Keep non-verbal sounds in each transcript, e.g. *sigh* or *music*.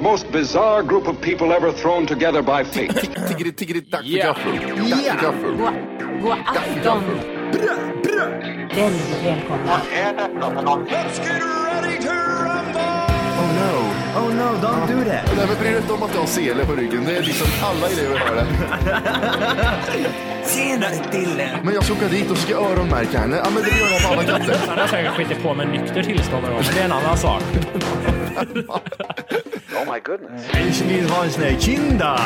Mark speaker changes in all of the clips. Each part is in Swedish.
Speaker 1: most bizarre group of people ever thrown together by fate.
Speaker 2: Tiggeri-tiggeri-tack för
Speaker 3: Ja.
Speaker 2: gaffel. Tack för gaffel.
Speaker 4: God afton! Väldigt välkomna.
Speaker 5: Oh no, oh no, don't do that.
Speaker 2: Nej, men bry dig inte om att jag har sele på ryggen. Det är liksom alla elever har det.
Speaker 5: Tjena Dille!
Speaker 2: Men jag ska åka dit och ska öronmärka henne. Ja, men det gör jag på alla katter.
Speaker 3: Han har säkert skitit på med nykter tillstånd då, men det är en annan sak.
Speaker 5: Ich vill ha en sån här kinda.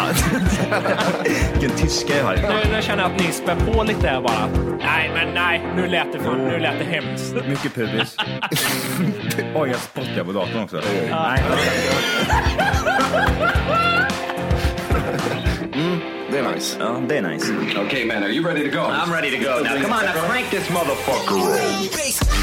Speaker 5: *laughs* Vilken tyska jag har.
Speaker 3: Nu, nu känner jag att ni spär på lite här bara. Nej, men nej. Nu lät det, fan, nu lät det hemskt.
Speaker 5: Mycket *laughs* pubis. Oj, jag spottar på datorn också. Nej.
Speaker 2: Det är nice.
Speaker 5: Ja, det är nice.
Speaker 1: *laughs* okay, man, are you ready to go?
Speaker 5: I'm ready to go. Now come on, now crank this motherfucker.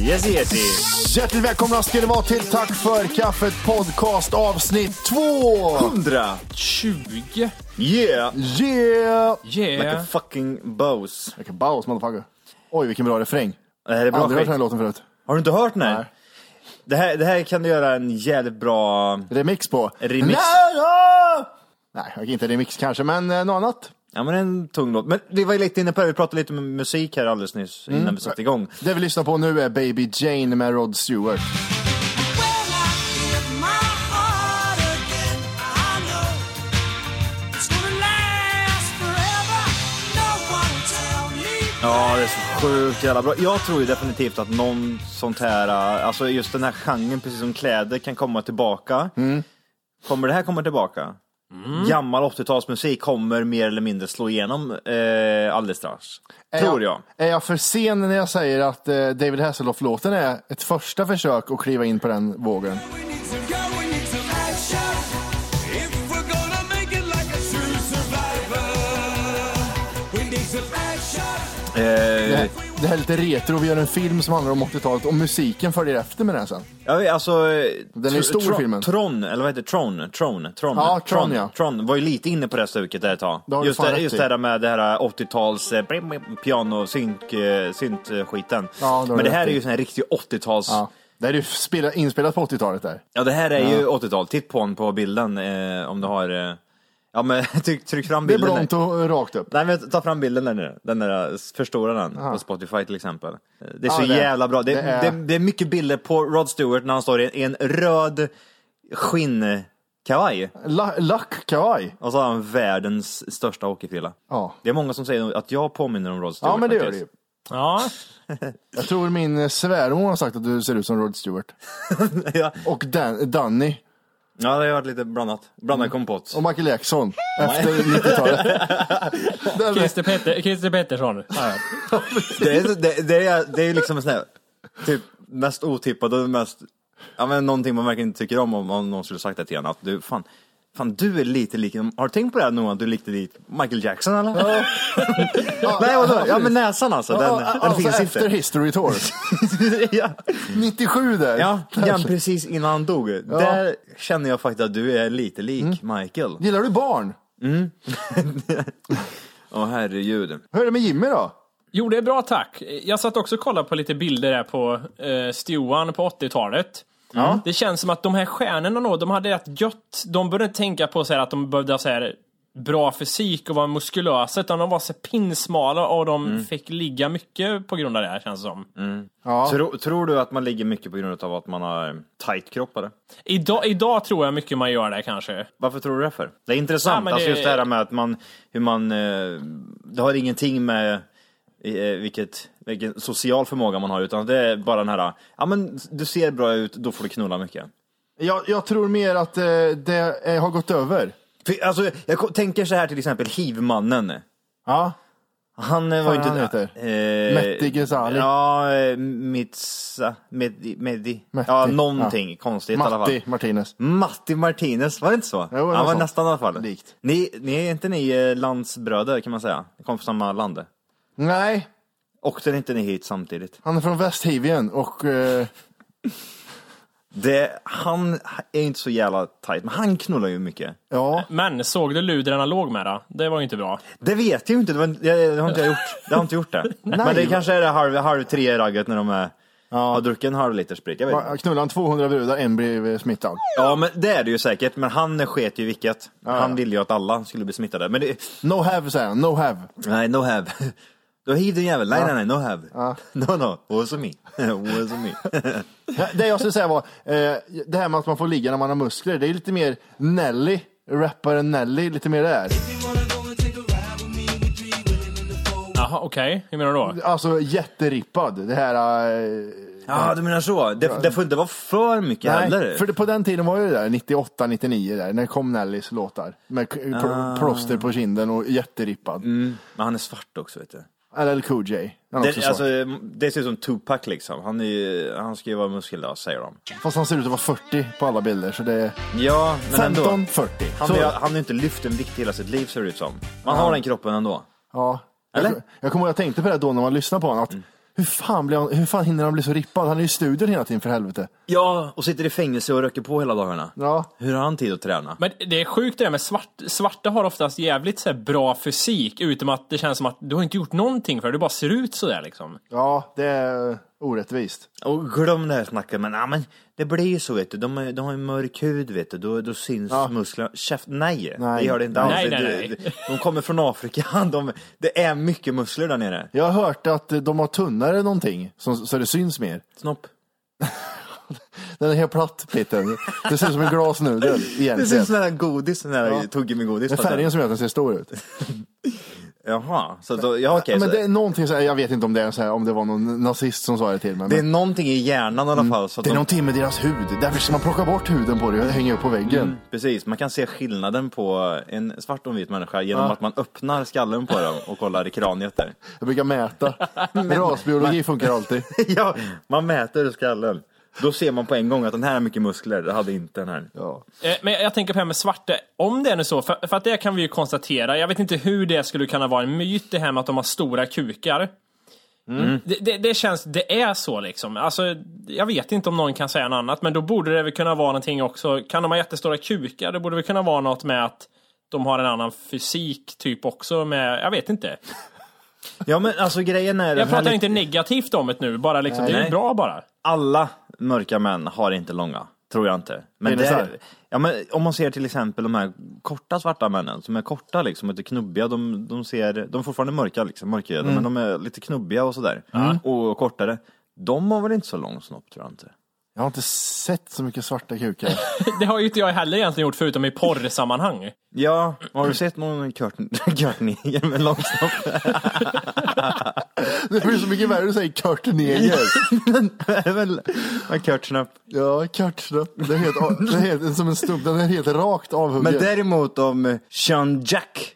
Speaker 5: Yes, yes, yes.
Speaker 2: Hjärtligt välkomna ska ni vara till Tack för kaffet podcast avsnitt 2.
Speaker 5: 100.
Speaker 3: 20?
Speaker 2: Yeah!
Speaker 5: Yeah. Like a
Speaker 3: Yeah.
Speaker 5: fucking boss. Äh,
Speaker 2: Vilken baus motherfucker. Oj, vilken bra refräng.
Speaker 5: Det här är bra
Speaker 2: Aldrig hört
Speaker 5: skit.
Speaker 2: den här låten förut.
Speaker 5: Har du inte hört den
Speaker 2: Nej.
Speaker 5: här? Det här, det här kan du göra en jävligt bra...
Speaker 2: Remix på.
Speaker 5: Remix.
Speaker 2: Nej, ja! Nej, okej, inte remix kanske, men eh, något annat.
Speaker 5: Ja men en tung låt. Men vi var ju lite inne på det, vi pratade lite om musik här alldeles nyss innan vi satte igång.
Speaker 2: Det vi lyssnar på nu är Baby Jane med Rod Stewart.
Speaker 5: Ja, det är så sjukt jävla bra. Jag tror ju definitivt att någon sånt här, äh, alltså just den här genren, precis som kläder, kan komma tillbaka.
Speaker 2: Mm.
Speaker 5: Kommer det här komma tillbaka? Gammal 80-talsmusik kommer mer eller mindre slå igenom eh, alldeles strax.
Speaker 2: Är
Speaker 5: Tror jag.
Speaker 2: Är jag för sen när jag säger att eh, David Hasselhoff-låten är ett första försök att kliva in på den vågen?
Speaker 5: Eh,
Speaker 2: Det, det här är lite retro, vi gör en film som handlar om 80-talet och musiken följer efter med den sen.
Speaker 5: Ja, alltså... eh,
Speaker 2: Den är ju
Speaker 5: Tr-
Speaker 2: stor,
Speaker 5: Tron-
Speaker 2: filmen.
Speaker 5: Tron, eller vad heter det? Tron? Tron? Tron?
Speaker 2: Ja, Tron, ja.
Speaker 5: Tron var ju lite inne på det här stuket där ett tag.
Speaker 2: Det har du
Speaker 5: Just,
Speaker 2: fan
Speaker 5: det,
Speaker 2: rätt
Speaker 5: just
Speaker 2: i.
Speaker 5: det här med det här 80-tals eh, brim, brim, piano, synk, eh, synt eh, skiten.
Speaker 2: det har
Speaker 5: Men
Speaker 2: du
Speaker 5: det här
Speaker 2: rätt
Speaker 5: är ju
Speaker 2: i.
Speaker 5: sån här riktig 80-tals...
Speaker 2: Ja.
Speaker 5: Ja.
Speaker 2: Det här är ju spela- inspelat på 80-talet där.
Speaker 5: det här är ju 80-tal. Titt på den på bilden eh, om du har... Eh, ja, men *laughs* tryck, tryck fram
Speaker 2: Det är
Speaker 5: bilden. där.
Speaker 2: blont och rakt upp.
Speaker 5: Nej men ta fram bilden där nu, den där, eh, förstora den på Spotify till exempel. Det är så
Speaker 2: Ja, det-
Speaker 5: jävla bra. Det,
Speaker 2: det
Speaker 5: det,
Speaker 2: är-
Speaker 5: är... Det, är mycket bilder på Rod Stewart när han står i en, en röd skinnkavaj.
Speaker 2: La- Lack kavaj.
Speaker 5: Och så har han världens största hockeyfrilla.
Speaker 2: Ja.
Speaker 5: Det är många som säger att jag påminner om Rod Stewart.
Speaker 2: ja, men det gör det
Speaker 5: faktiskt.
Speaker 2: ju.
Speaker 3: Ja.
Speaker 2: Jag tror min eh, svärmor har sagt att du ser ut som Rod *laughs* Stewart.
Speaker 5: ja.
Speaker 2: Och Dan- Danny
Speaker 5: ja, det har varit lite blandat. Blandad
Speaker 2: Mm.
Speaker 5: kompott.
Speaker 2: och Michael Jackson efter 90-talet. Den är-
Speaker 3: Christer, Petter, Christer Pettersson.
Speaker 5: Det är, det, det är, det är liksom en sån här, typ mest otippad och mest, ja men någonting man verkligen inte tycker om om, om någon skulle sagt det till en. Att du, fan, fan du är lite lik, har du tänkt på det här Noah, att du är lite lik Michael Jackson eller? *laughs* Nej vadå, ja men näsan alltså,
Speaker 2: *laughs*
Speaker 5: den,
Speaker 2: Ja,
Speaker 5: den
Speaker 2: alltså
Speaker 5: finns
Speaker 2: efter History *laughs* Tour.
Speaker 5: inte. *laughs* ja,
Speaker 2: 97 där.
Speaker 5: ja,
Speaker 2: Kanske.
Speaker 5: den precis innan han dog. Där känner jag faktiskt att du är lite lik
Speaker 2: Mm.
Speaker 5: Michael.
Speaker 2: Gillar du barn?
Speaker 5: Åh herregud.
Speaker 2: Hur är det med Jimmy då?
Speaker 3: Jo, det är bra tack. Jag satt också och kollade på lite bilder där på eh, Stuan på 80-talet. Det känns som att de här stjärnorna då, de hade rätt gött. De började tänka på så här att de behövde ha så här bra fysik och vara muskulösa, utan de var så här pinsmala och de fick ligga mycket på grund av det här känns det som.
Speaker 5: Tro, tror du att man ligger mycket på grund av att man har tight kropp eller?
Speaker 3: Idag, idag tror jag mycket man gör det kanske.
Speaker 5: Varför tror du det för? Det är
Speaker 3: Ja,
Speaker 5: intressant,
Speaker 3: men
Speaker 5: alltså
Speaker 3: det-
Speaker 5: just det här med att man, hur man, eh, det har ingenting med eh, vilket, vilken social förmåga man har, utan det är bara den här, ja men du ser bra ut, då får du knulla mycket.
Speaker 2: Jag, jag tror mer att eh, det eh, har gått över.
Speaker 5: För, alltså, jag ko- tänker så här till exempel hivmannen.
Speaker 2: Ja.
Speaker 5: Han eh, var ju
Speaker 2: Fan,
Speaker 5: inte...
Speaker 2: han heter?
Speaker 5: Eh,
Speaker 2: Mehdi Ghezali.
Speaker 5: Ja, eh, Mitsa, Mehdi, Mehdi.
Speaker 2: Mehdi,
Speaker 5: Ja,
Speaker 2: ja.
Speaker 5: någonting konstigt i alla fall.
Speaker 2: Matti Martinez.
Speaker 5: Matti Martinez, var det inte så?
Speaker 2: Jo, det var
Speaker 5: han var
Speaker 2: så.
Speaker 5: nästan i alla fall.
Speaker 2: Likt.
Speaker 5: Ni, ni är inte ni eh, landsbröder kan man säga? Ni kom från samma land.
Speaker 2: Nej,
Speaker 5: Åkte inte ni hit samtidigt?
Speaker 2: han är från Västhivien och eh,
Speaker 5: Det, han är inte så jävla tight, men han knullar ju mycket.
Speaker 2: Ja,
Speaker 3: Men såg du Ludren han låg med då? Det var ju inte bra.
Speaker 5: Det vet jag ju inte, det, var, det, det har inte jag gjort. Det har inte
Speaker 2: *laughs*
Speaker 5: gjort det. Men det kanske är det halv, halv tre-ragget när de är, har druckit en halv liter sprit. Jag vet. inte.
Speaker 2: va- knullar han 200 brudar, en blev eh, smittad.
Speaker 5: Ja, men det är det ju säkert. Men han sket ju i vilket. Han ville ju att alla skulle bli smittade. Men det,
Speaker 2: No have, säger han. No have.
Speaker 5: nej, no have. Då hiv din jävel. Nej, nej, nej, no have. No, no, wasn't *laughs* me. wasn't me.
Speaker 2: Ja, Det jag skulle säga var, eh, det här med att man får ligga när man har muskler, det är lite mer Nelly, rapparen Nelly, lite mer det här.
Speaker 3: Jaha, okej. Hur menar du då?
Speaker 2: Alltså jätterippad, det här... Eh,
Speaker 5: Ja, du menar så. Det, det får inte vara för mycket heller.
Speaker 2: för det- på den tiden var det där, 98, 99 där, när kom Nellys låtar. Med k- pl-
Speaker 5: Ah.
Speaker 2: plåster på kinden och jätterippad.
Speaker 5: Men han är svart också, vet du.
Speaker 2: LL Cool J. Han är också
Speaker 5: Mm. Det,
Speaker 2: svart.
Speaker 5: alltså, det ser ut som Tupac liksom. Han, är, ju- han ska ju vara muskulös, säger de.
Speaker 2: Fast han ser ut att vara 40 på alla bilder, så det är
Speaker 5: Ja, men ändå.
Speaker 2: 15, 40.
Speaker 5: Han
Speaker 2: Så-
Speaker 5: har ju- han har ju inte lyft en vikt i hela sitt liv ser det ut som. Man har den kroppen ändå.
Speaker 2: Ja.
Speaker 5: Eller? Mm.
Speaker 2: Jag, jag kommer ihåg, jag tänkte på det då när man lyssnade på honom. Att hur, fan blir han, hur fan hinner han bli så rippad? Han är ju i studion hela tiden för helvete.
Speaker 5: Ja, och sitter i fängelse och röker på hela dagarna.
Speaker 2: Ja.
Speaker 5: Hur har han tid att träna?
Speaker 3: Men det är sjukt det där med svart, svarta har oftast jävligt så här bra fysik utom att det känns som att du har inte gjort någonting för det, du bara ser ut sådär liksom.
Speaker 2: Ja, det är orättvist.
Speaker 5: Och glöm det här snacket, men, ja, men det blir ju så vet du. De, är- de har ju mörk hud vet du, då, då syns musklerna. Käft, nej,
Speaker 2: Nej.
Speaker 5: det gör det inte alls.
Speaker 3: Nej, nej,
Speaker 5: Det-
Speaker 3: nej.
Speaker 5: det- De kommer från Afrika, *laughs* de, det är mycket muskler där nere.
Speaker 2: Jag har hört att de har tunnare någonting så, så det syns mer.
Speaker 5: Snopp.
Speaker 2: Den är helt platt pitten. Det ser ut som en
Speaker 5: *laughs*
Speaker 2: glasnudel
Speaker 5: Det ser ut som
Speaker 2: egentligen.
Speaker 5: den där godis, den där
Speaker 2: Ja.
Speaker 5: tuggummi-godis.
Speaker 2: Det är färgen som gör att den ser stor ut.
Speaker 5: Jaha, så då, ja, okej.
Speaker 2: Men
Speaker 5: så-
Speaker 2: det är någonting, så här, jag vet inte om det, är så här, om det var någon nazist som sa det till mig.
Speaker 5: det är
Speaker 2: Men
Speaker 5: någonting i hjärnan i alla fall. Så att
Speaker 2: Mm. det är
Speaker 5: de-
Speaker 2: någonting med deras hud. Därför ska man plocka bort huden på det och hänga upp på väggen.
Speaker 5: Precis, man kan se skillnaden på en svart och en vit människa genom att man öppnar skallen på dem och kollar i kraniet där.
Speaker 2: Jag brukar mäta.
Speaker 5: *laughs*
Speaker 2: Rasbiologi funkar alltid. *laughs*
Speaker 5: ja, Mm. man mäter skallen. Då ser man på en gång att den här har mycket muskler, det hade inte den här.
Speaker 2: Ja.
Speaker 3: Eh, Men jag tänker på det här med svarta, om det är nu så, för, för att det kan vi ju konstatera, jag vet inte hur det skulle kunna vara en myt det här med att de har stora kukar.
Speaker 5: Mm.
Speaker 3: Mm. Det, det, det känns, det är så liksom. Alltså, jag vet inte om någon kan säga något annat, men då borde det väl kunna vara någonting också, kan de ha jättestora kukar, det borde väl kunna vara något med att de har en annan fysik typ också med, jag vet inte.
Speaker 5: Ja men alltså grejen är,
Speaker 3: Jag
Speaker 5: den här
Speaker 3: pratar
Speaker 5: li-
Speaker 3: inte negativt om det nu, bara liksom, det är
Speaker 5: Nej.
Speaker 3: ju bra bara.
Speaker 5: alla mörka män har inte långa, tror jag inte. Men,
Speaker 2: Är det
Speaker 5: det
Speaker 2: så
Speaker 5: är,
Speaker 2: här?
Speaker 5: ja, men om man ser till exempel de här korta svarta männen som är korta liksom, lite knubbiga, de, de, ser, de är fortfarande mörka liksom, mörkhyade,
Speaker 2: Mm.
Speaker 5: men de är lite knubbiga och sådär. Mm. Och kortare. De har väl inte så lång snopp tror jag inte.
Speaker 2: Jag har inte sett så mycket svarta
Speaker 5: *laughs*
Speaker 2: kukar.
Speaker 3: Det har ju inte jag heller egentligen gjort förutom i porrsammanhang.
Speaker 5: Ja, har du sett någon Kurt *laughs* Neger med lång snopp? *laughs*
Speaker 2: Det blir så mycket värre att säga Kurt Neger.
Speaker 5: Med Kurt Snopp.
Speaker 2: Ja, Kurtsnopp. Det är helt, det är helt som en stump. Den är helt rakt avhuggen.
Speaker 5: Men däremot om Sean Jack,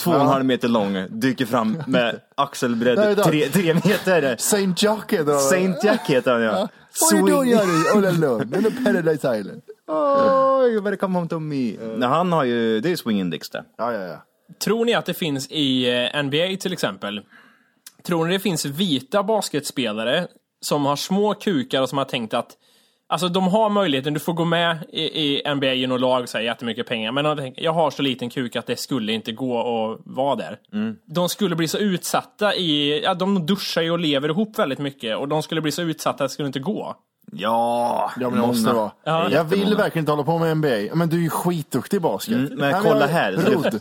Speaker 5: två och en halv meter lång, dyker fram *laughs* med
Speaker 2: Nej,
Speaker 5: axelbredd
Speaker 2: då.
Speaker 5: tre, tre meter.
Speaker 2: Saint Jack heter han.
Speaker 5: Saint Jack heter han ja.
Speaker 2: What are you doing
Speaker 5: Swing- *laughs*
Speaker 2: Harry? All alone. In a paradise island.
Speaker 5: Oh, you better come home to me. Nej, han har ju, det är swinging dicks det.
Speaker 2: Ja, ja, ja.
Speaker 3: Tror ni att det finns i eh, NBA till exempel? Tror ni det finns vita basketspelare som har små kukar och som har tänkt att Alltså de har möjligheten, du får gå med i, i NBA i något lag så här, jättemycket pengar, men de tänker, jag har så liten kuk att det skulle inte gå att vara där. De skulle bli så utsatta i, ja de duschar ju och lever ihop väldigt mycket och de skulle bli så utsatta att det skulle inte gå.
Speaker 5: Ja,
Speaker 2: Ja, men det måste det vara. jag vill verkligen inte hålla på med NBA. Men du är ju skitduktig i basket.
Speaker 5: Mm, men kolla
Speaker 2: jag-
Speaker 5: här.
Speaker 2: Rodd.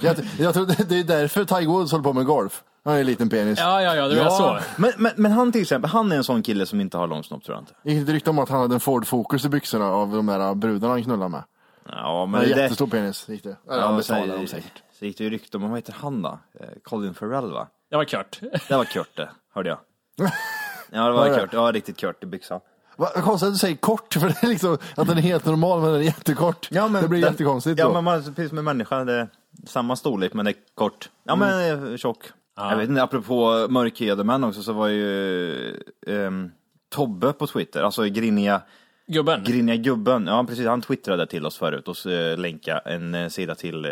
Speaker 2: jag, jag tror det det är därför Tiger Woods håller på med golf. Han har ju en liten penis.
Speaker 3: Ja, ja, ja, det var så.
Speaker 5: Ja, men, men, men han till exempel, han är en sån kille som inte har lång snopp tror jag inte.
Speaker 2: Gick det rykte om att han hade en Ford Focus i byxorna av de där brudarna han knullade med?
Speaker 5: Ja,
Speaker 2: Han
Speaker 5: men
Speaker 2: hade
Speaker 5: det-
Speaker 2: jättestor penis. Gick det. Ja, han
Speaker 5: men så-
Speaker 2: betalade dem säkert.
Speaker 5: Så gick det ju rykte om, vad heter han då? Eh, Colin Farrell va?
Speaker 3: Det var kört.
Speaker 5: Det var Kurt det, hörde *laughs* jag. Ja det var
Speaker 2: Var det?
Speaker 5: Kurt, ja riktigt Kurt i byxan.
Speaker 2: Vad konstigt att du säger kort, för det är liksom att den är helt normal men den är jättekort. det blir jättekonstigt
Speaker 5: Ja
Speaker 2: då.
Speaker 5: men man, precis med människan, det är samma storlek men det är kort. Ja
Speaker 2: Mm.
Speaker 5: men eh, tjock. Jag vet inte, apropå mörkhyade män också så var ju ehm, Tobbe på Twitter, alltså griniga,
Speaker 3: Gubben.
Speaker 5: griniga gubben, ja precis han twittrade till oss förut och så, eh, länka en eh, sida till, eh,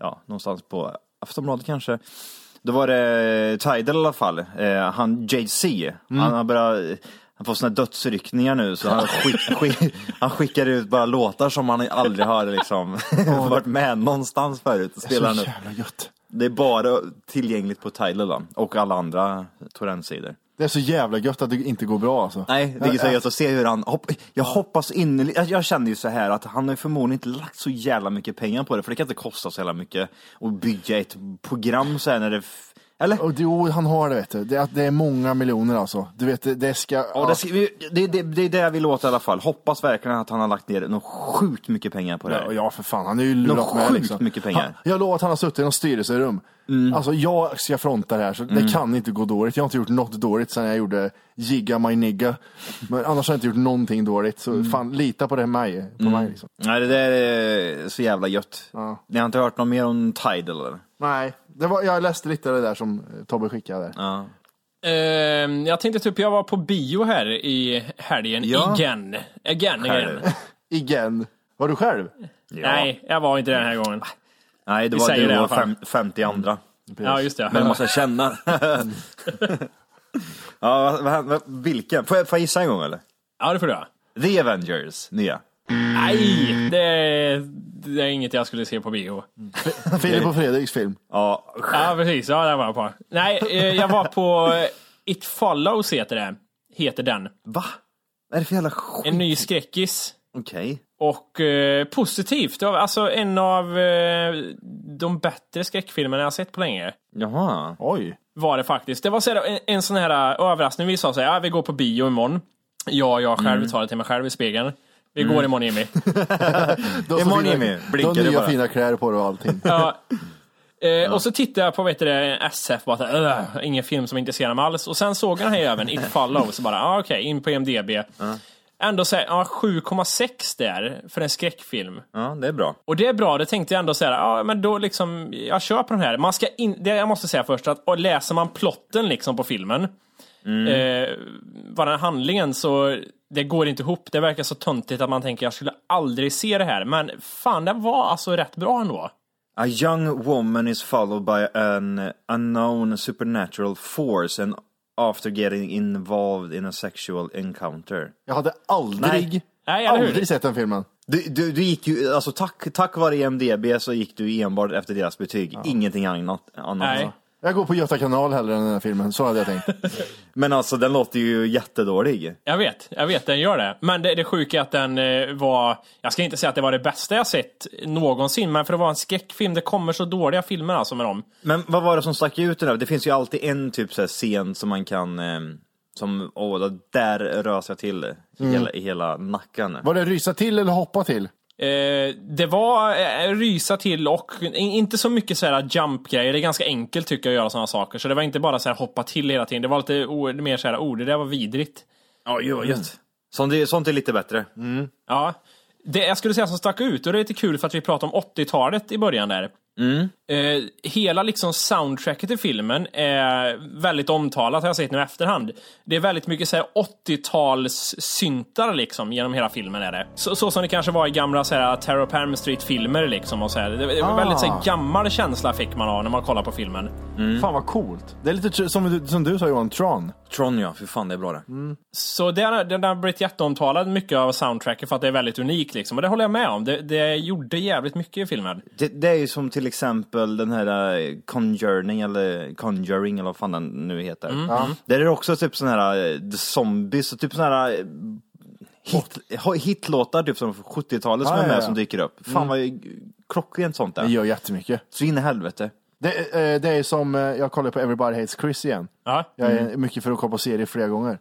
Speaker 5: ja någonstans på Aftonbladet kanske. Eh, Då var det Tidal i alla fall, eh, han JC, han har börjat, Han får såna dödsryckningar nu så han, skick, skick, han skickar ut bara låtar som han aldrig har liksom *laughs* varit med någonstans förut. och
Speaker 2: Så
Speaker 5: Spelar nu.
Speaker 2: jävla gött.
Speaker 5: Det är bara tillgängligt på Tidal då, och alla andra torrentsidor.
Speaker 2: Det är så jävla gött att det inte går bra alltså.
Speaker 5: Nej, det är så gött att se hur han, hopp, jag hoppas innerligt, jag- jag känner ju så här att han har ju förmodligen inte lagt så jävla mycket pengar på det, för det kan inte kosta så jävla mycket att bygga ett program så här när det, f- eller?
Speaker 2: Och det, jo, han har det vet du. Det, är att det är många miljoner alltså. Du vet, det, det ska...
Speaker 5: Ja, det, ska vi- det, det, det är det vi låter i alla fall. Hoppas verkligen att han har lagt ner något sjukt mycket pengar på det
Speaker 2: Ja,
Speaker 5: här.
Speaker 2: ja, för fan. Han är ju lurat
Speaker 5: Något
Speaker 2: med.
Speaker 5: sjukt
Speaker 2: Liksom.
Speaker 5: mycket pengar. Mm.
Speaker 2: Han, jag lovar att han har suttit i något styrelserum. Alltså, jag ska fronta det här, så det kan inte gå dåligt. Jag har inte gjort något dåligt sedan jag gjorde Jigga My Nigga. Men annars har jag inte gjort någonting dåligt. Så
Speaker 5: Mm.
Speaker 2: fan, lita på det här mig. På mig liksom.
Speaker 5: Nej, det där är så jävla gött. Ni har inte hört något mer om Tidal eller?
Speaker 2: Nej, det var, jag läste lite av det där som eh, Tobbe skickade. Där.
Speaker 5: Ja.
Speaker 3: Ehm, jag tänkte typ, jag var på bio här i helgen.
Speaker 5: Ja.
Speaker 3: Igen. Again, again.
Speaker 5: Här.
Speaker 2: Igen. Var du *laughs* själv?
Speaker 3: Nej, jag var inte den här gången.
Speaker 5: Ah, Nej, det
Speaker 3: Vi
Speaker 5: var
Speaker 3: säger det i
Speaker 5: du
Speaker 3: alla
Speaker 5: och
Speaker 3: fall.
Speaker 5: fem, 50 andra.
Speaker 3: Ja, just det.
Speaker 5: Men jag måste känna. *laughs* ja, vad- vad- vilken? Får jag, får jag gissa en gång eller?
Speaker 3: Ja, det får du göra.
Speaker 5: The Avengers, nya.
Speaker 3: Nej, det, det är inget jag skulle se på bio.
Speaker 2: Filip och Fredriks film.
Speaker 5: Ja,
Speaker 3: Ja, precis. Ja, där var jag på. Nej, eh, jag var på eh, It Follows heter det. Heter den.
Speaker 5: va? Vad är det för jävla skit?
Speaker 3: En ny skräckis.
Speaker 5: Okej.
Speaker 3: Och eh, positivt. Det var Alltså en av eh, de bättre skräckfilmerna jag har sett på länge.
Speaker 5: Jaha.
Speaker 2: Oj.
Speaker 3: Var det faktiskt. Det var så här, en, en sån här eh, överraskning. Vi sa så här, ja, vi går på bio imorgon. Ja, jag själv tar det till mig själv i spegeln. Vi går imorgon Jimmy.
Speaker 2: Du har så
Speaker 5: Imorgon,
Speaker 2: fina-
Speaker 5: Jimmy,
Speaker 2: Du
Speaker 5: blinkar
Speaker 2: har
Speaker 5: du
Speaker 2: nya
Speaker 5: bara.
Speaker 2: fina kläder på dig och *laughs* allting.
Speaker 3: Ja. Eh, och så tittade jag på vet du, det, en SF, bara, så här, "Ugh, ingen film som intresserar mig alls. Och sen såg jag den här även, It Follows, så bara, ah, okej, in på IMDB. Ändå så här, ja, 7,6 där för en skräckfilm.
Speaker 5: Ja, det är bra.
Speaker 3: Och det är bra, det tänkte jag ändå säga. Ja, men då liksom, jag köper den här. Man ska in, det jag måste säga först, att och läser man plotten liksom på filmen, eh, vad den handlingen, så det går inte ihop. Det verkar så töntigt att man tänker, jag skulle aldrig se det här. Men fan, den var alltså rätt bra ändå.
Speaker 5: A young woman is followed by an unknown supernatural force and after getting involved in a sexual encounter.
Speaker 2: Jag hade aldrig,
Speaker 5: Nej.
Speaker 3: Nej, eller hur?
Speaker 2: aldrig sett den filmen.
Speaker 5: Du, du, du gick ju, alltså tack, tack vare IMDB så gick du enbart efter deras betyg, ingenting annat. annat.
Speaker 3: Nej.
Speaker 2: Jag går på Göta kanal hellre än den här filmen, så hade jag tänkt.
Speaker 5: Men alltså den låter ju jättedålig.
Speaker 3: Jag vet, jag vet, den gör det. Men det, det sjuka är att den eh, var, jag ska inte säga att det var det bästa jag sett någonsin, men för att vara en skräckfilm, det kommer så dåliga filmer alltså med dem.
Speaker 5: Men vad var det som stack ut i den här? Det finns ju alltid en typ så här scen som man kan, ehm, som, åh, det där rös jag till i hela, i hela nacken.
Speaker 2: Var det rysa till eller hoppa till?
Speaker 3: Eh, det var eh, rysa till och in- inte så mycket så här jump-grejer. Det är ganska enkelt tycker jag att göra sådana saker. Så det var inte bara så här hoppa till hela tiden. Det var lite o- mer så här, oh, det där var vidrigt.
Speaker 5: Ja, ju vad gött. Sånt är, sånt är lite bättre.
Speaker 3: Ja. Det jag skulle säga som stack ut, och det är lite kul för att vi pratade om 80-talet i början där. Eh, hela liksom soundtracket i filmen är väldigt omtalat, har jag sett nu i efterhand. Det är väldigt mycket så här 80-tals-syntar liksom, genom hela filmen. är det. Så, så som det kanske var i gamla så här, Terror på Elm Street-filmer. Liksom, och så här. Det, det var väldigt så här, gammal känsla fick man av när man kollar på filmen.
Speaker 2: Mm. Fan vad coolt. Det är lite tr- som, du- som du sa Johan, Tron.
Speaker 5: Tron ja, för fan det är bra det.
Speaker 2: Mm.
Speaker 3: Så den har, den har blivit jätteomtalad, mycket av soundtracket, för att det är väldigt unikt. Liksom. Och det håller jag med om. Det, det gjorde jävligt mycket i filmen.
Speaker 5: det. Det är ju som till exempel den här eh, Conjuring eller Conjuring eller vad fan den nu heter.
Speaker 2: Mm.
Speaker 5: Där är det också typ sån här eh, The Zombies och typ sån här eh, hit, hitlåtar typ som 70-talet som
Speaker 2: Ah,
Speaker 5: är med
Speaker 2: ja, ja.
Speaker 5: som dyker upp. Fan vad ju- klockrent sånt
Speaker 2: Det
Speaker 5: där.
Speaker 2: gör jättemycket.
Speaker 5: Så in i helvete.
Speaker 2: Det, eh, det är som, eh, jag kollar på Everybody Hates Chris igen.
Speaker 3: Ja.
Speaker 2: Jag är
Speaker 5: Mm.
Speaker 2: mycket för att kolla på serier flera gånger.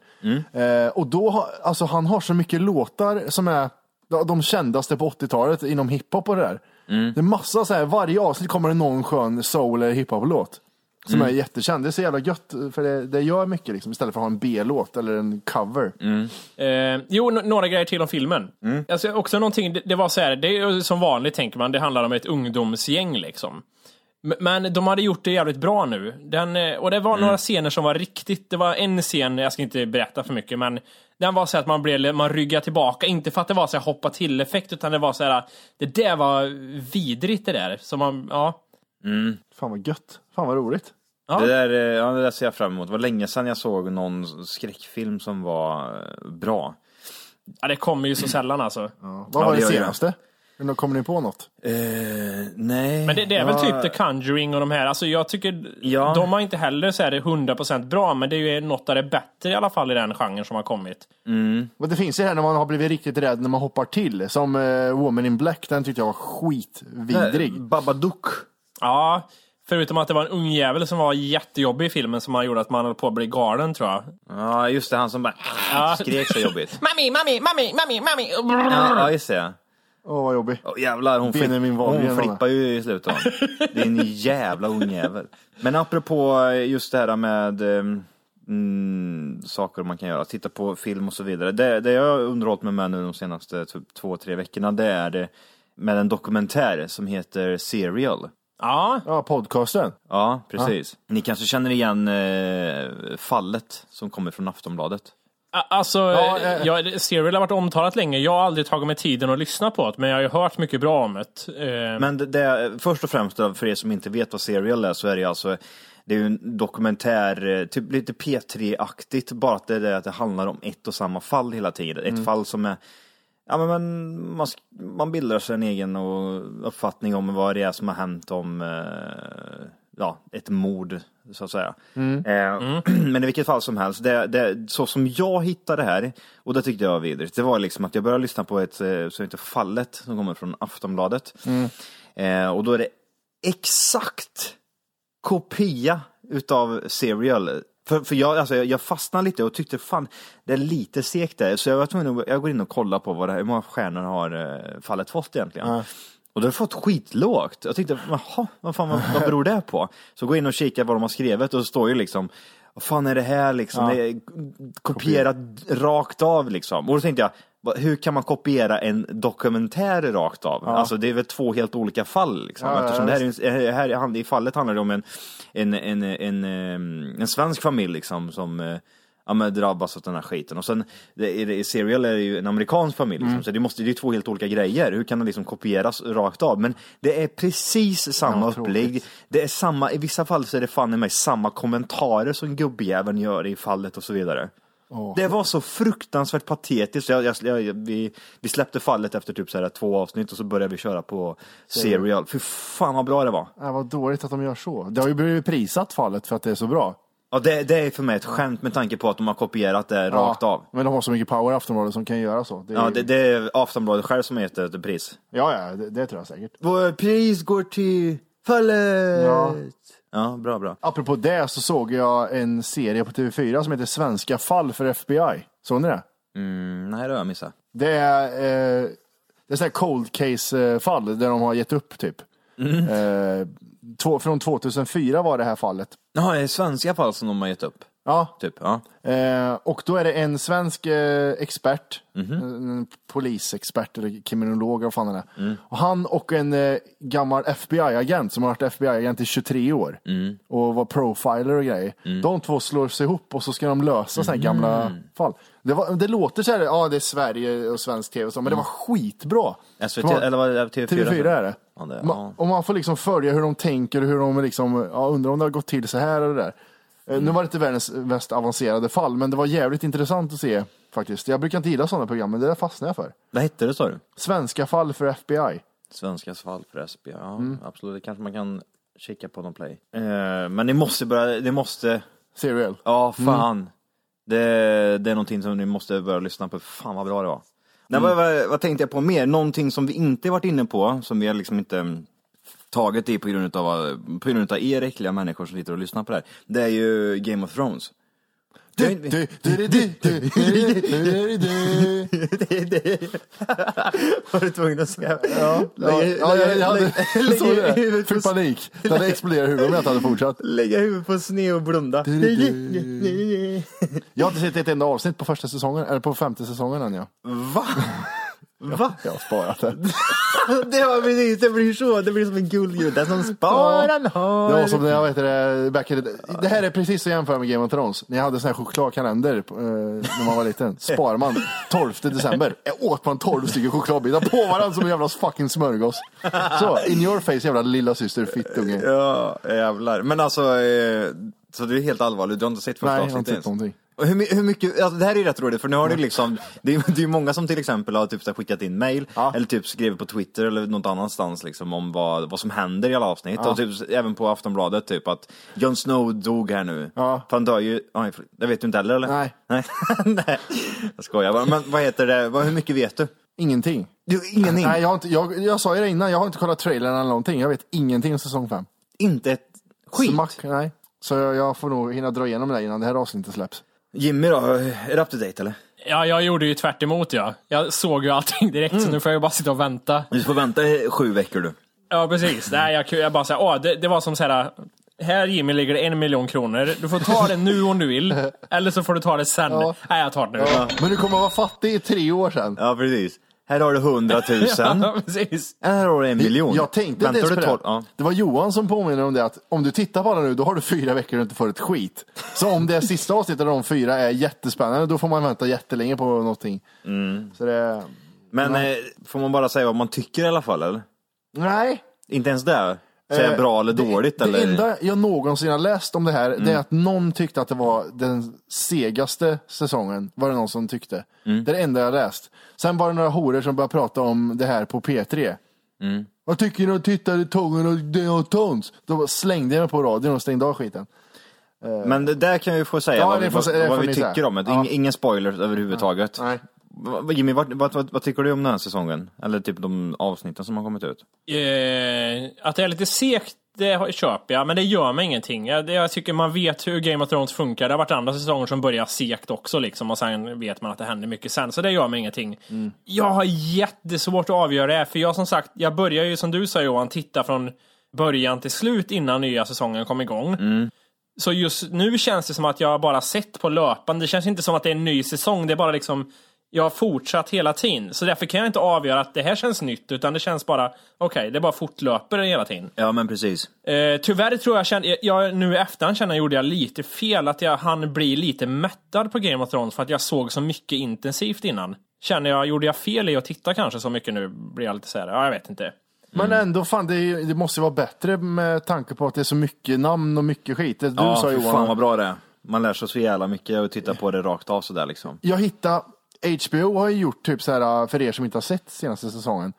Speaker 2: Eh, och då, har- alltså han har så mycket låtar som är de- de kändaste på 80-talet inom hiphop och det där.
Speaker 5: Mm.
Speaker 2: Det är massa så här, varje avsnitt kommer det någon skön soul eller hiphop-låt. Som
Speaker 5: Mm.
Speaker 2: är jättekänd. Det är så jävla gött, för det, det gör mycket liksom, istället för att ha en B-låt eller en cover.
Speaker 5: Mm.
Speaker 3: Eh, jo, n- några grejer till om filmen. Alltså, också någonting, det, det var så här, det är ju som vanligt tänker man, det handlar om ett ungdomsgäng liksom. M- Men de hade gjort det jävligt bra nu. Den, eh, och det var några scener som var riktigt, det var en scen, jag ska inte berätta för mycket, men den var så att man, blev, man ryggade tillbaka, inte för att det var så här hoppa till-effekt, utan det var så här, det där var vidrigt det där. Så man, ja.
Speaker 2: Fan vad gött, fan vad roligt.
Speaker 3: Ja.
Speaker 5: Det, där, eh, ja, det där ser jag fram emot. Det var länge sedan jag såg någon skräckfilm som var eh, bra.
Speaker 3: Ja, det kommer ju så sällan alltså.
Speaker 2: Vad var
Speaker 5: det
Speaker 2: det
Speaker 5: gör jag.
Speaker 2: senaste? Men då Kommer ni på något?
Speaker 5: Eh, nej.
Speaker 3: Men det, det är väl
Speaker 5: Ja,
Speaker 3: typ The Conjuring och de här. Alltså jag tycker
Speaker 5: Ja.
Speaker 3: de har inte heller så här 100% bra, men det är ju något av det bättre i alla fall i den genren som har kommit.
Speaker 2: Och det finns ju det här när man har blivit riktigt rädd när man hoppar till. Som eh, Woman in Black, den tyckte jag var skitvidrig.
Speaker 5: Babadook.
Speaker 3: Ja, förutom att det var en ung jävel som var jättejobbig i filmen som han gjorde att man höll på att bli galen tror jag.
Speaker 5: Ja, just det. Han som bara skrek
Speaker 3: *laughs*
Speaker 5: så jobbigt.
Speaker 3: Mami, mami, mami, mami, mami.
Speaker 5: ja, ja, just det.
Speaker 2: Åh, vad jobbig.
Speaker 5: Åh, jävlar, hon, flipp,
Speaker 2: Benjamin Wahlgren,
Speaker 5: hon flippar ju i slutet. Det är en jävla ung jävel. Men apropå just det här med eh, mm, saker man kan göra, titta på film och så vidare. Det, det jag har underhållit mig med nu de senaste typ, två, tre veckorna, det är det med en dokumentär som heter Serial.
Speaker 3: Ja,
Speaker 2: Ja, podcasten.
Speaker 5: Ja, precis.
Speaker 2: Ah.
Speaker 5: Ni kanske känner igen eh, fallet som kommer från Aftonbladet.
Speaker 3: a- alltså,
Speaker 2: Ja,
Speaker 3: ja,
Speaker 2: eh.
Speaker 3: jag, Serial har varit omtalat länge. Jag har aldrig tagit mig tiden att lyssna på det, men jag har ju hört mycket bra om det. Eh,
Speaker 5: Men det, det, först och främst då, för er som inte vet vad Serial är så är det ju alltså det är ju en dokumentär, eh, typ lite P3-aktigt, bara att det, är det att det handlar om ett och samma fall hela tiden. Ett fall som är, ja men man, man, sk- man bildar sig en egen och, uppfattning om vad det är som har hänt om, eh, ja, ett mord så att säga. Eh, *clears throat* Men i vilket fall som helst, det, det, så som jag hittade det här, och det tyckte jag var vidrigt, det var liksom att jag började lyssna på ett, eh, som heter Fallet, som kommer från Aftonbladet. Eh, och då är det exakt kopia utav Serial. För, för jag, alltså, jag, jag fastnade lite och tyckte fan, det är lite segt där. Så jag var tvungen att jag går in och kollar på vad det, här- hur många stjärnor har eh, fallet fått egentligen. Och det har fått skitlågt. Jag tänkte, jaha, vad fan vad, vad beror det på? Så går jag in och kikar vad de har skrivit och så står ju liksom, vad fan är det här liksom? Det är kopierat rakt av liksom. Och då tänkte jag, "Va- hur kan man kopiera en dokumentär rakt av? Alltså det är väl två helt olika fall liksom.
Speaker 2: Ja, ja,
Speaker 5: Eftersom det här, är en- eh, här i hand- i fallet handlar det om en, en, en, en, eh, en svensk familj liksom som eh, ja, men drabbas av den här skiten. Och sen det, är det- i Serial är det ju en amerikansk familj, liksom,
Speaker 2: Mm.
Speaker 5: så det, måste, det är två helt olika grejer. Hur kan det liksom kopieras rakt av? Men det är precis samma upplägg. Det är samma, i vissa fall så är det fan i mig samma kommentarer som gubbjäveln gör i fallet och så vidare. Det var så fruktansvärt patetiskt. Jag, jag, jag, vi, vi släppte fallet efter typ så här två avsnitt och så började vi köra på Serial. Fy fan vad bra det var.
Speaker 2: Äh, vad dåligt att de gör så. Det har ju blivit prisat fallet för att det är så bra.
Speaker 5: Ja, det, det är för mig ett skämt med tanke på att de har kopierat det rakt
Speaker 2: ja,
Speaker 5: av.
Speaker 2: Men de har så mycket power Aftonbladet som kan göra så. Det är,
Speaker 5: Ja, det, det är Aftonbladet själv som har gett det ett pris.
Speaker 2: ja, ja det, det tror jag säkert.
Speaker 5: Vår pris går till fallet!
Speaker 2: Ja.
Speaker 5: Ja, bra, bra.
Speaker 2: Apropå det så såg jag en serie på TV4 som heter Svenska fall för FBI. Såg ni det?
Speaker 5: Mm, nej, det har jag missat.
Speaker 2: Det är, eh, det är så här cold case-fall där de har gett upp typ.
Speaker 5: Mm.
Speaker 2: Eh, två, från 2004 var det här fallet.
Speaker 5: Ja, det är svenska fall som de har gett upp.
Speaker 2: Ja,
Speaker 5: Typ, ja.
Speaker 2: Eh, och då är det en svensk eh, expert,
Speaker 5: Mhm.
Speaker 2: eh, en en polisexpert eller kriminolog eller vad fan han är.
Speaker 5: Mm.
Speaker 2: Och han och en eh, gammal FBI-agent som har varit FBI-agent i 23 år
Speaker 5: Mm.
Speaker 2: och var profiler och grejer. De två slår sig ihop och så ska de lösa sådana
Speaker 5: Mm.
Speaker 2: här gamla fall. Det, var, det låter så här, ja det är Sverige och svensk tv och så, men
Speaker 5: Mm.
Speaker 2: det var skitbra.
Speaker 5: SVT,
Speaker 2: För man-
Speaker 5: eller vad är det? TV4?
Speaker 2: TV4 är det.
Speaker 5: Ja, det
Speaker 2: Ma-
Speaker 5: ja.
Speaker 2: och man får liksom följa hur de tänker och hur de liksom, ja, undrar om det har gått till så här eller där. Eh, Nu var det inte världens mest avancerade fall, men det var jävligt intressant att se faktiskt. Jag brukar inte gilla sådana program, men det där fastnade jag för.
Speaker 5: Vad hette det, sa du?
Speaker 2: Svenska fall för FBI.
Speaker 5: Svenskas fall för SB. Ja,
Speaker 2: Mm.
Speaker 5: absolut. Det kanske man kan kika på någon play. Eh, men ni måste börja, ni måste
Speaker 2: Serial.
Speaker 5: Ja,
Speaker 2: Mm.
Speaker 5: fan. Det, det är någonting som ni måste börja lyssna på. Fan vad bra det var. Nej,
Speaker 2: Mm.
Speaker 5: vad, vad, vad tänkte jag på mer? Någonting som vi inte varit inne på, som vi har liksom inte mm, tagit i på grund av, på grund av er äckliga människor som sitter och lyssnar på det här. Det är ju Game of Thrones.
Speaker 2: Du, du, du, du, du, du, du, du, du, du.
Speaker 5: *laughs* Var du tvungen att säga?
Speaker 2: Ja, ja, ja, jag- *laughs* jag hade- såg det.
Speaker 5: huvudet på-
Speaker 2: Fick panik. Det hade exploderat i huvudet om jag inte hade fortsatt.
Speaker 5: lägga huvudet på sned och blunda.
Speaker 2: Jag har inte sett ett enda avsnitt på första säsongen, eller på femte säsongen än ja.
Speaker 5: *laughs* Va? Va?
Speaker 2: Jag har sparat den.
Speaker 5: *laughs* Det, var precis, det blir så, det blir som en guldgruva. Den som sparar den har.
Speaker 2: Det var som när jag, vad heter det, back in the, Det här är precis att jämföra med Game of Thrones. När jag hade sån här chokladkalender eh, när man var
Speaker 5: *laughs*
Speaker 2: liten. Sparman, 12 december. Jag åt man 12 stycken chokladbitar på varandra som en jävla fucking smörgås. Så, in your face jävla lilla syster fittunge.
Speaker 5: Ja, jävlar. Men alltså, eh, så du är helt allvarlig, du har inte sett första
Speaker 2: Nej, jag har
Speaker 5: avsnittet
Speaker 2: inte sett
Speaker 5: ens?
Speaker 2: någonting.
Speaker 5: Och hur, my- hur mycket, alltså det här är rätt roligt för nu har du liksom, det är, det är många som till exempel har typ så här skickat in mail
Speaker 2: Ja.
Speaker 5: eller typ skrivit på Twitter eller något annanstans liksom om vad, vad som händer i alla avsnitt och typ även på Aftonbladet typ att Jon Snow dog här nu.
Speaker 2: Ja.
Speaker 5: För han dör ju, oj, för- det vet du inte heller eller?
Speaker 2: Nej.
Speaker 5: Nej, *laughs* Nej. jag skojar bara. Men vad heter det, vad, hur mycket vet du?
Speaker 2: Ingenting.
Speaker 5: du ingenting?
Speaker 2: Nej, jag, har inte, jag, jag sa ju det innan, jag har inte kollat trailern eller någonting. Jag vet ingenting om säsong 5.
Speaker 5: Inte ett skit?
Speaker 2: Smack, nej. Så jag, jag får nog hinna dra igenom det innan det här avsnittet släpps.
Speaker 5: Jimmy då, är du up to date eller?
Speaker 3: Ja, jag gjorde ju tvärt emot ja. Jag såg ju allting direkt,
Speaker 5: Mm.
Speaker 3: så nu får jag ju bara sitta och vänta.
Speaker 5: Du får vänta eh, sju veckor du.
Speaker 3: Ja, precis. Nej, jag, jag bara säger, åh, det, det var som så här. Här Jimmy ligger det en miljon kronor. Du får ta det nu om du vill. Eller så får du ta det sen. Nej, jag tar det nu. Ja,
Speaker 2: Men du kommer vara fattig i tre år sen.
Speaker 5: Ja, precis. Här har
Speaker 2: *laughs*
Speaker 3: *laughs*
Speaker 5: du hundratusen.
Speaker 3: precis.
Speaker 5: Här har du en miljon.
Speaker 2: Jag tänkte inte
Speaker 5: Väntar
Speaker 2: ens på
Speaker 5: du
Speaker 2: det.
Speaker 5: tolv- Ja.
Speaker 2: Det var Johan som påminner om det att om du tittar på alla nu, då har du fyra veckor och inte får ett skit. Så om det sista avsnittet av de fyra är jättespännande, då får man vänta jättelänge på någonting.
Speaker 5: Mm.
Speaker 2: Så det,
Speaker 5: Men eh, får man bara säga vad man tycker i alla fall, eller?
Speaker 2: nej.
Speaker 5: Inte ens det? Säga
Speaker 2: Eh,
Speaker 5: bra eller dåligt,
Speaker 2: Det
Speaker 5: eller? Mm.
Speaker 2: enda jag någonsin har läst om det här, det är att någon tyckte att det var den segaste säsongen, var det någon som tyckte.
Speaker 5: Mm.
Speaker 2: Det är det enda jag har läst. Sen var det några horor som började prata om det här på P3.
Speaker 5: Mm.
Speaker 2: Vad tycker ni om tittare, tången och det och tons? Då slängde jag mig på radion och stängde av skiten.
Speaker 5: Men det där kan vi få säga
Speaker 2: Ja,
Speaker 5: vad vi,
Speaker 2: det får-
Speaker 5: vad,
Speaker 2: det
Speaker 5: vad
Speaker 2: får
Speaker 5: vi
Speaker 2: ni
Speaker 5: tycker
Speaker 2: säga.
Speaker 5: om det.
Speaker 2: Ja.
Speaker 5: Ing- Inga spoilers överhuvudtaget.
Speaker 2: Nej.
Speaker 5: Va- va- Jimmy, vad, vad, vad, vad tycker du om den här säsongen? Eller typ de avsnitten som har kommit ut?
Speaker 3: Eh, att det är lite segt, det har- köper jag, men det gör mig ingenting. Jag, det, jag tycker man vet hur Game of Thrones funkar. Det har varit andra säsonger som börjar segt också, liksom, och sen vet man att det händer mycket sen, så det gör mig ingenting. Jag har jättesvårt att avgöra det, här, för jag som sagt, jag börjar ju som du sa Johan, titta från början till slut innan nya säsongen kom igång. Så just nu känns det som att jag bara sett på löpande. Det känns inte som att det är en ny säsong. Det är bara liksom, jag har fortsatt hela tiden. Så därför kan jag inte avgöra att det här känns nytt, utan det känns bara, okej, det bara fortlöper hela tiden.
Speaker 5: Ja, men precis.
Speaker 3: Eh, tyvärr tror jag, kände, jag, nu i efterhand känner jag gjorde jag lite fel, att jag hann bli lite mättad på Game of Thrones för att jag såg så mycket intensivt innan. Känner jag, gjorde jag fel i att titta kanske så mycket nu? Blir jag lite såhär, ja jag vet inte.
Speaker 2: Men
Speaker 5: Mm.
Speaker 2: ändå, fan, det, är ju- det måste ju vara bättre med tanke på att det är så mycket namn och mycket skit. Det Du
Speaker 5: ja,
Speaker 2: sa
Speaker 5: fy fan
Speaker 2: Johan.
Speaker 5: vad bra det är. Man lär sig så jävla mycket och tittar på det rakt av sådär liksom.
Speaker 2: Jag hittade, HBO har ju gjort typ så här, för er som inte har sett senaste säsongen.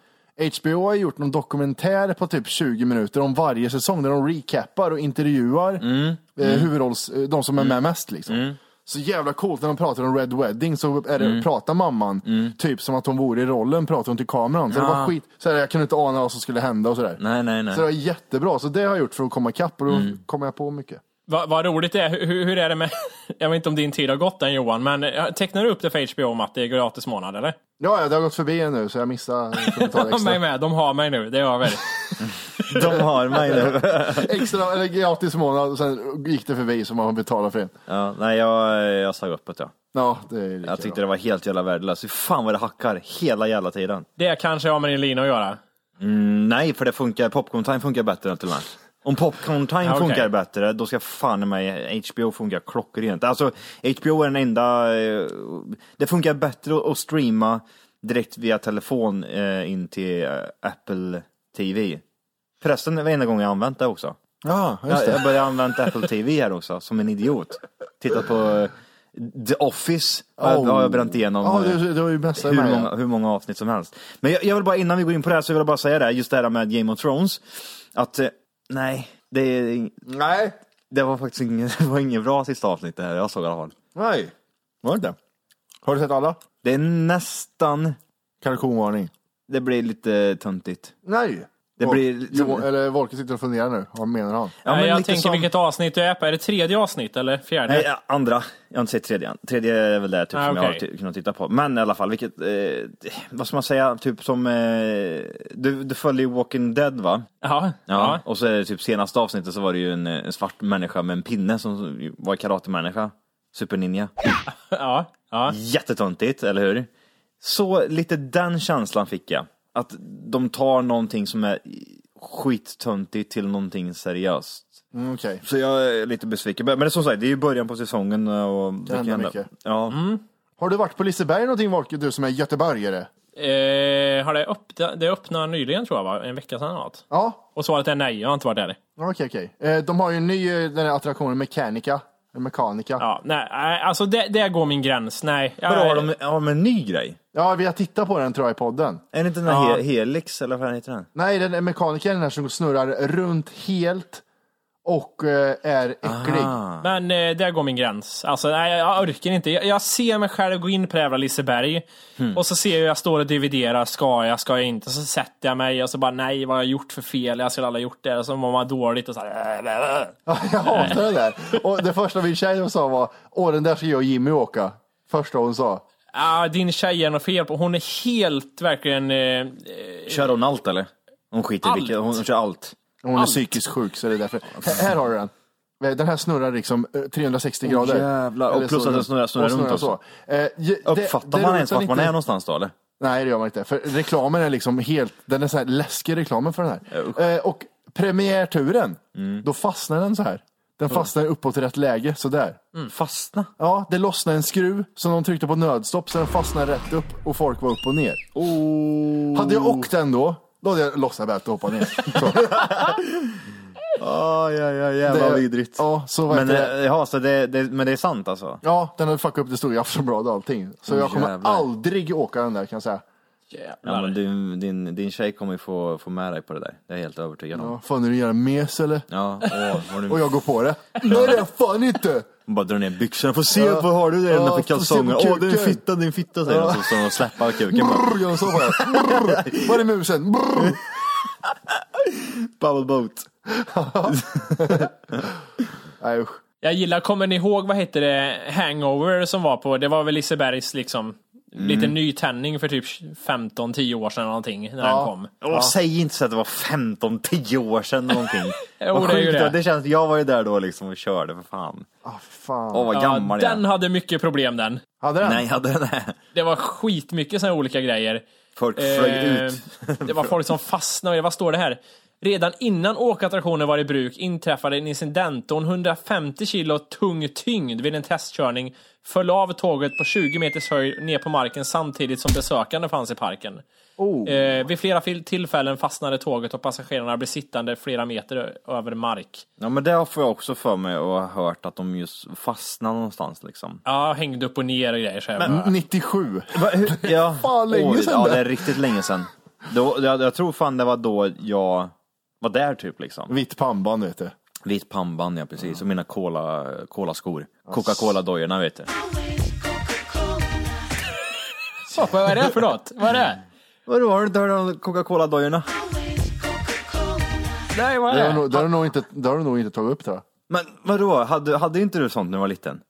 Speaker 2: HBO har ju gjort någon dokumentär på typ 20 minuter om varje säsong där de recappar och intervjuar
Speaker 5: Mm.
Speaker 2: Eh, huvudrolls, eh, de som är med mest. Liksom. Så jävla coolt när de pratar om Red Wedding så är det,
Speaker 5: Mm.
Speaker 2: pratar mamman typ som att hon vore i rollen, pratar hon till kameran. Så det var skit, så här, jag kunde inte ana vad som skulle hända och sådär.
Speaker 5: Nej, nej, Mm. nej.
Speaker 2: Så det var jättebra, så det har jag gjort för att komma ikapp och då kommer jag på mycket.
Speaker 3: Va, vad roligt det är. Hur, hur- hur är det med... *laughs* Jag vet inte om din tid har gått än Johan, men eh, tecknar du upp det för HBO om att det är gratis månad eller?
Speaker 2: Ja, ja, det har gått förbi nu så jag missar
Speaker 5: *laughs*
Speaker 2: kommentar
Speaker 3: De är
Speaker 2: extra.
Speaker 3: med, de har mig nu, det är över.
Speaker 5: *laughs* De har mig nu.
Speaker 2: extra eller gratis månad och sen gick det förbi så man betalar för det.
Speaker 5: *laughs* Ja, nej, jag, jag sa upp det ja.
Speaker 2: Ja, det är lika
Speaker 5: Jag tyckte
Speaker 2: bra.
Speaker 5: det var helt jävla värdelöst. Fy fan vad det hackar hela jävla tiden.
Speaker 3: Det kanske har med din lina att göra.
Speaker 5: Nej, för det funkar. Popcorn time funkar bättre än till och med. Om popcorn time
Speaker 3: Ja, okej.
Speaker 5: funkar bättre, då ska fan i mig HBO funka klockrent. Alltså, HBO är den enda... eh, Det funkar bättre att streama direkt via telefon eh, in till eh, Apple TV. Förresten, det var enda gången jag använt det också.
Speaker 2: Ja, just
Speaker 5: Jag,
Speaker 2: det.
Speaker 5: jag började använda Apple TV här också, som en idiot. Tittat på eh, The Office, har jag- har jag bränt igenom.
Speaker 2: Oh. Ja,
Speaker 5: eh,
Speaker 2: du, du har ju messat
Speaker 5: hur
Speaker 2: mig.
Speaker 5: många, hur många avsnitt som helst. Men jag, jag vill bara, innan vi går in på det här, så vill jag bara säga det, här, just det här med Game of Thrones. Att, eh, nej, det, är-
Speaker 2: Nej.
Speaker 5: det var faktiskt inget, *laughs* det var inget bra sista avsnitt det här, jag såg i alla fall.
Speaker 2: Nej. Var det inte? Har du sett alla?
Speaker 5: Det är nästan,
Speaker 2: Kalkonvarning.
Speaker 5: det blir lite töntigt.
Speaker 2: Nej.
Speaker 5: Det
Speaker 2: Vol-
Speaker 5: blir-
Speaker 2: Jo, eller Volke sitter och funderar nu. Vad menar han?
Speaker 5: Ja,
Speaker 3: Nej,
Speaker 5: men
Speaker 3: Eh, jag
Speaker 5: lite
Speaker 3: tänker
Speaker 5: som-
Speaker 3: vilket avsnitt du är på. Är det tredje avsnitt eller fjärde?
Speaker 5: Nej, ja, andra. Jag har inte sett tredje än. Tredje är väl det typ,
Speaker 3: Ah,
Speaker 5: som jag har
Speaker 3: okej.
Speaker 5: ty- kunnat titta på. Men i alla fall, vilket, eh, vad ska man säga, typ som, eh, du, du följer ju Walking Dead va?
Speaker 3: Ja.
Speaker 5: Ja.
Speaker 3: ja.
Speaker 5: Och så är det typ senaste avsnittet så var det ju en, en svart människa med en pinne som var karatemänniska. Superninja.
Speaker 3: ja. ja.
Speaker 5: Jättetöntigt, eller hur? Så lite den känslan fick jag. Att de tar någonting som är skittöntigt till någonting seriöst.
Speaker 2: Mm, Okej.
Speaker 5: Så jag är lite besviken. Men det är som sagt, det är ju början på säsongen och det
Speaker 2: hända mycket.
Speaker 5: Ja.
Speaker 2: Har du varit på Liseberg någonting Volker, du som är göteborgare?
Speaker 3: Eh, har det, öppna, det öppnade nyligen tror jag, va? en vecka sedan eller något.
Speaker 2: Ja,
Speaker 3: Och svaret är nej, jag har inte varit där.
Speaker 2: okej okej. Eh, de har ju en ny eh, den här attraktionen Mechanica. Eller Mechanica. Ja.
Speaker 3: Ja, nej, nej, alltså det, där går min gräns. Nej. Jag,
Speaker 5: Vadå, har de, har de en ny grej?
Speaker 2: vi har tittat på den tror jag i podden.
Speaker 5: Är det inte den här He- Helix eller vad fan heter den?
Speaker 2: Nej, den är Mechanica är den här som snurrar runt helt och eh, är äcklig.
Speaker 3: Men eh, där går min gräns. Alltså, nej, jag- jag orkar inte. Jag, jag ser mig själv gå in på det jävla Liseberg och så ser jag hur jag står och dividerar. Ska jag, ska jag inte? Så sätter jag mig och så bara nej, vad har jag gjort för fel? Jag skulle aldrig ha gjort det. Och så mår man dåligt och så här. äh,
Speaker 2: Ja, *laughs* jag hatar det där. Och det första min tjej sa var, åh den där ska jag och Jimmy åka. Första hon sa.
Speaker 3: Ah, din tjej är något fel på. Hon är helt verkligen... Eh,
Speaker 5: Kör hon allt eller? Hon skiter i
Speaker 3: Allt.
Speaker 5: vilket, hon, hon kör allt.
Speaker 2: Hon är psykiskt sjuk så det är därför. Här- Här har du den. Den här snurrar liksom eh, 360 grader.
Speaker 5: jävlar. Och
Speaker 2: Eller
Speaker 5: plus
Speaker 2: så-
Speaker 5: att den snurrar- snurrar
Speaker 2: och
Speaker 5: runt
Speaker 2: så.
Speaker 5: också.
Speaker 2: Eh, ju- det-
Speaker 5: Uppfattar
Speaker 2: det
Speaker 5: man
Speaker 2: är
Speaker 5: ens
Speaker 2: roligt
Speaker 5: vart man
Speaker 2: inte-
Speaker 5: är någonstans då eller?
Speaker 2: Nej, det gör man inte. För reklamen är liksom helt, den är så här läskig reklamen för den här. Eh, och premiärturen, då fastnar den så här. Den fastnar uppåt i rätt läge, sådär.
Speaker 5: Mm. Fastna.
Speaker 2: Ja, det lossnade en skruv som de tryckte på nödstopp så den fastnade rätt upp och folk var upp och ner. Hade jag åkt den då, då hade jag lossat bältet och hoppat
Speaker 5: *laughs*
Speaker 2: ner. Så,
Speaker 5: Oh, ja, ja, jävla
Speaker 2: Det-
Speaker 5: vidrigt.
Speaker 2: ja, så vad
Speaker 5: men,
Speaker 2: heter det?
Speaker 5: eh, ja, så det, det, men det är sant alltså?
Speaker 2: Ja, den hade fuckat upp det stora i Aftonbladet och allting. Så jag kommer
Speaker 5: jävlar.
Speaker 2: aldrig åka den där kan jag säga.
Speaker 5: Ja, men din, din, din tjej kommer ju få, få med dig på det där. Det är jag helt övertygad om.
Speaker 2: Ja, fan är det en jävla mes eller?
Speaker 5: Ja, åh,
Speaker 2: Och
Speaker 5: oh,
Speaker 2: jag går på det. Nej det är jag fan inte!
Speaker 5: hon bara drar ner byxorna. Får se
Speaker 2: Ja.
Speaker 5: vad har du där
Speaker 2: Ja,
Speaker 5: innanför
Speaker 2: får se på
Speaker 5: kalsonger. Åh, det är en
Speaker 2: kuken.
Speaker 5: fitta, det är en fitta säger
Speaker 2: Ja.
Speaker 5: hon. Så, så släpper kuken. Bara,
Speaker 2: Brrr, gör de så på det. Brrr. Var är musen? Brrr.
Speaker 5: Bubble boat.
Speaker 2: Nej usch.
Speaker 3: Jag gillar, kommer ni ihåg vad hette det, Hangover som var på, det var väl Lisebergs liksom, lite nytändning för typ 15-10 år sedan eller någonting när den kom.
Speaker 5: Åh, Säg inte så att det var 15-10 år sedan någonting.
Speaker 3: *laughs* Jo,
Speaker 5: Vad
Speaker 3: det är ju
Speaker 5: sjukt
Speaker 3: det.
Speaker 5: det känns, jag var ju där då liksom och körde för fan.
Speaker 2: Ah, fan.
Speaker 5: Åh vad gammal jag
Speaker 3: den
Speaker 5: är.
Speaker 3: hade mycket problem den.
Speaker 2: Hade den?
Speaker 5: Nej, jag hade *laughs* den här.
Speaker 3: Det var skitmycket sådana olika grejer.
Speaker 5: Folk flög
Speaker 3: Eh,
Speaker 5: ut.
Speaker 3: *laughs* det var folk som fastnade. Vad står det här? Redan innan åkattraktionen var i bruk inträffade en incident då en 150 kilo tung tyngd vid en testkörning föll av tåget på 20 meters höjd ner på marken samtidigt som besökande fanns i parken.
Speaker 5: Oh.
Speaker 3: Eh, vid flera fil- tillfällen fastnade tåget och passagerarna blev sittande flera meter ö- över mark.
Speaker 5: Ja men det får jag också för mig och har hört att de just fastnar någonstans liksom.
Speaker 3: Ja, hängde upp och ner och grejer. Mm. Så här. bara.
Speaker 2: 97.
Speaker 5: Va, hur, *laughs* ja.
Speaker 2: *laughs* Fan, länge
Speaker 5: Oj,
Speaker 2: sedan
Speaker 5: Ja,
Speaker 2: det.
Speaker 5: det är riktigt länge sedan. Då, jag, jag tror fan det var då jag var där typ liksom.
Speaker 2: Vitt pannband vet du.
Speaker 5: Vitt pannband ja precis, och mina cola, skor. Coca-Cola-dojorna vet du.
Speaker 3: Så, vad är det för något? Vad är det?
Speaker 5: Vadå, har du inte hört om Coca-Cola-dojorna?
Speaker 3: Nej, vad
Speaker 2: Det
Speaker 3: är
Speaker 2: har,
Speaker 3: det?
Speaker 2: nog, det, har du nog inte, det har du nog inte tagit upp tror jag.
Speaker 5: Men vadå, hade, hade inte du sånt när du var liten?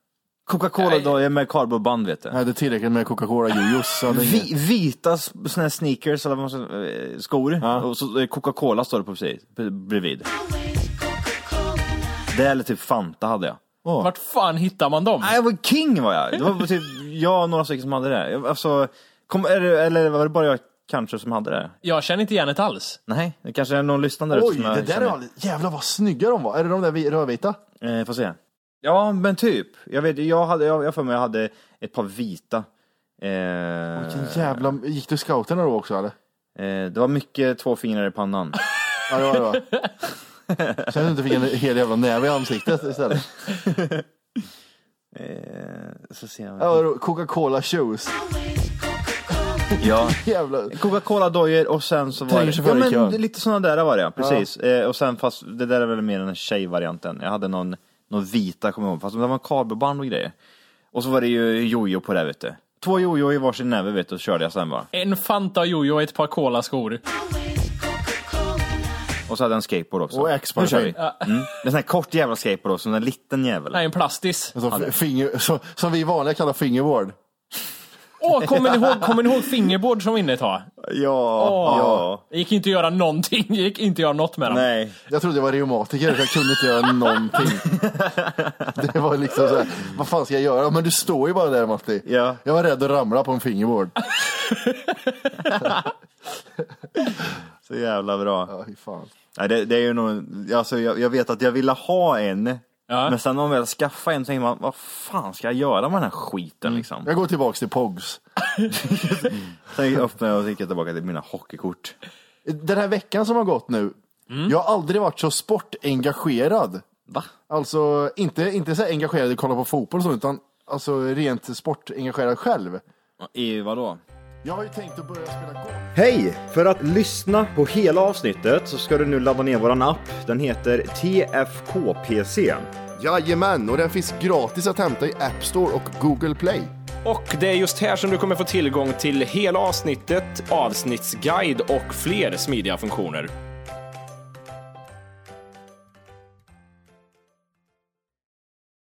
Speaker 5: Coca-Cola-dojor med kardborreband vet du.
Speaker 2: Jag hade tillräckligt med Coca-Cola jojos. så hade jag
Speaker 5: Vi,
Speaker 2: ingen-
Speaker 5: vita s- såna här sneakers eller vad man ska- eh, skor. Och så eh, Coca-Cola står det på precis b- bredvid. Det eller typ Fanta hade jag.
Speaker 3: Vart fan hittar man dem?
Speaker 5: Nej, jag var king var jag. Det var typ jag och några stycken som hade det. Jag- Alltså, kom, är det, eller var det bara jag kanske som hade det?
Speaker 3: Jag känner inte igen det alls.
Speaker 5: Nej, det kanske är någon lyssnande där
Speaker 2: Oj,
Speaker 5: ute som
Speaker 2: det
Speaker 5: jag
Speaker 2: där är
Speaker 5: känner.
Speaker 2: aldrig... Jävlar vad snygga de var. Är det de där vi- rödvita?
Speaker 5: Eh, får se. Ja, men typ. Jag vet, jag hade, jag, jag för mig jag hade ett par vita. Eh,
Speaker 2: Vilken jävla... Gick du scouterna då också eller?
Speaker 5: eh, det var mycket två fingrar i pannan.
Speaker 2: Ja, det var det var. *laughs* Sen att du inte fick en hel jävla näve i ansiktet istället.
Speaker 5: Eh, så ser jag.
Speaker 2: Ja, då, Coca-Cola shoes.
Speaker 5: Ja.
Speaker 2: Jävlar.
Speaker 5: Coca-Cola dojor och sen så var
Speaker 2: Tränger
Speaker 5: det,
Speaker 2: sig
Speaker 5: ja,
Speaker 2: före i
Speaker 5: men,
Speaker 2: kön.
Speaker 5: det är lite sådana där var det ja, precis. Eh, och sen fast det där är väl mer den tjejvarianten. Jag hade någon, någon vita kommer jag ihåg, fast det var kabelband och grejer. Och så var det ju jojo på det vet du. Två jojo i varsin näve vet du, och så körde jag sen bara.
Speaker 3: En Fanta Jojo och ett par Cola-skor.
Speaker 5: Och så hade jag en skateboard också.
Speaker 2: Och X-Party.
Speaker 5: Nu kör vi. Mm. Det är en sån här kort jävla skateboard också, en sån här liten jävel.
Speaker 3: Nej, en plastis.
Speaker 2: Alltså, f- finger, så, som vi vanliga kallar fingervård.
Speaker 5: *laughs*
Speaker 3: Åh, kommer ni ihåg, kommer ni ihåg fingerboard som var inne ett tag?
Speaker 5: Ja,
Speaker 3: Åh.
Speaker 5: ja.
Speaker 3: Det gick inte att göra någonting. Det gick inte att göra något med dem.
Speaker 5: Nej.
Speaker 2: Jag trodde jag var reumatiker, så jag kunde inte göra någonting. Det var liksom så här, vad fan ska jag göra? Men du står ju bara där Matti.
Speaker 5: Ja.
Speaker 2: Jag var rädd att ramla på en fingervård.
Speaker 5: Så jävla bra.
Speaker 2: Ja, fy fan.
Speaker 5: Nej, det, det är ju nog, alltså, jag, jag vet att jag ville ha en,
Speaker 3: Ja.
Speaker 5: men sen när man väl skaffar en så tänker man, vad fan ska jag göra med den här skiten liksom?
Speaker 2: Jag går tillbaks till Pogs.
Speaker 5: Sen öppnade jag och gick jag tillbaka till mina hockeykort.
Speaker 2: Den här veckan som har gått nu, jag har aldrig varit så sportengagerad.
Speaker 5: Mm. Va?
Speaker 2: Alltså inte, inte så här engagerad i att kolla på fotboll och så, utan alltså, rent sportengagerad själv.
Speaker 5: I vadå?
Speaker 2: Jag har ju tänkt att börja spela golf.
Speaker 5: Hej! För att lyssna på hela avsnittet så ska du nu ladda ner våran app. Den heter TFKPC.
Speaker 2: Jajamän, och den finns gratis att hämta i App Store och Google Play.
Speaker 3: Och det är just här som du kommer få tillgång till hela avsnittet, avsnittsguide och fler smidiga funktioner.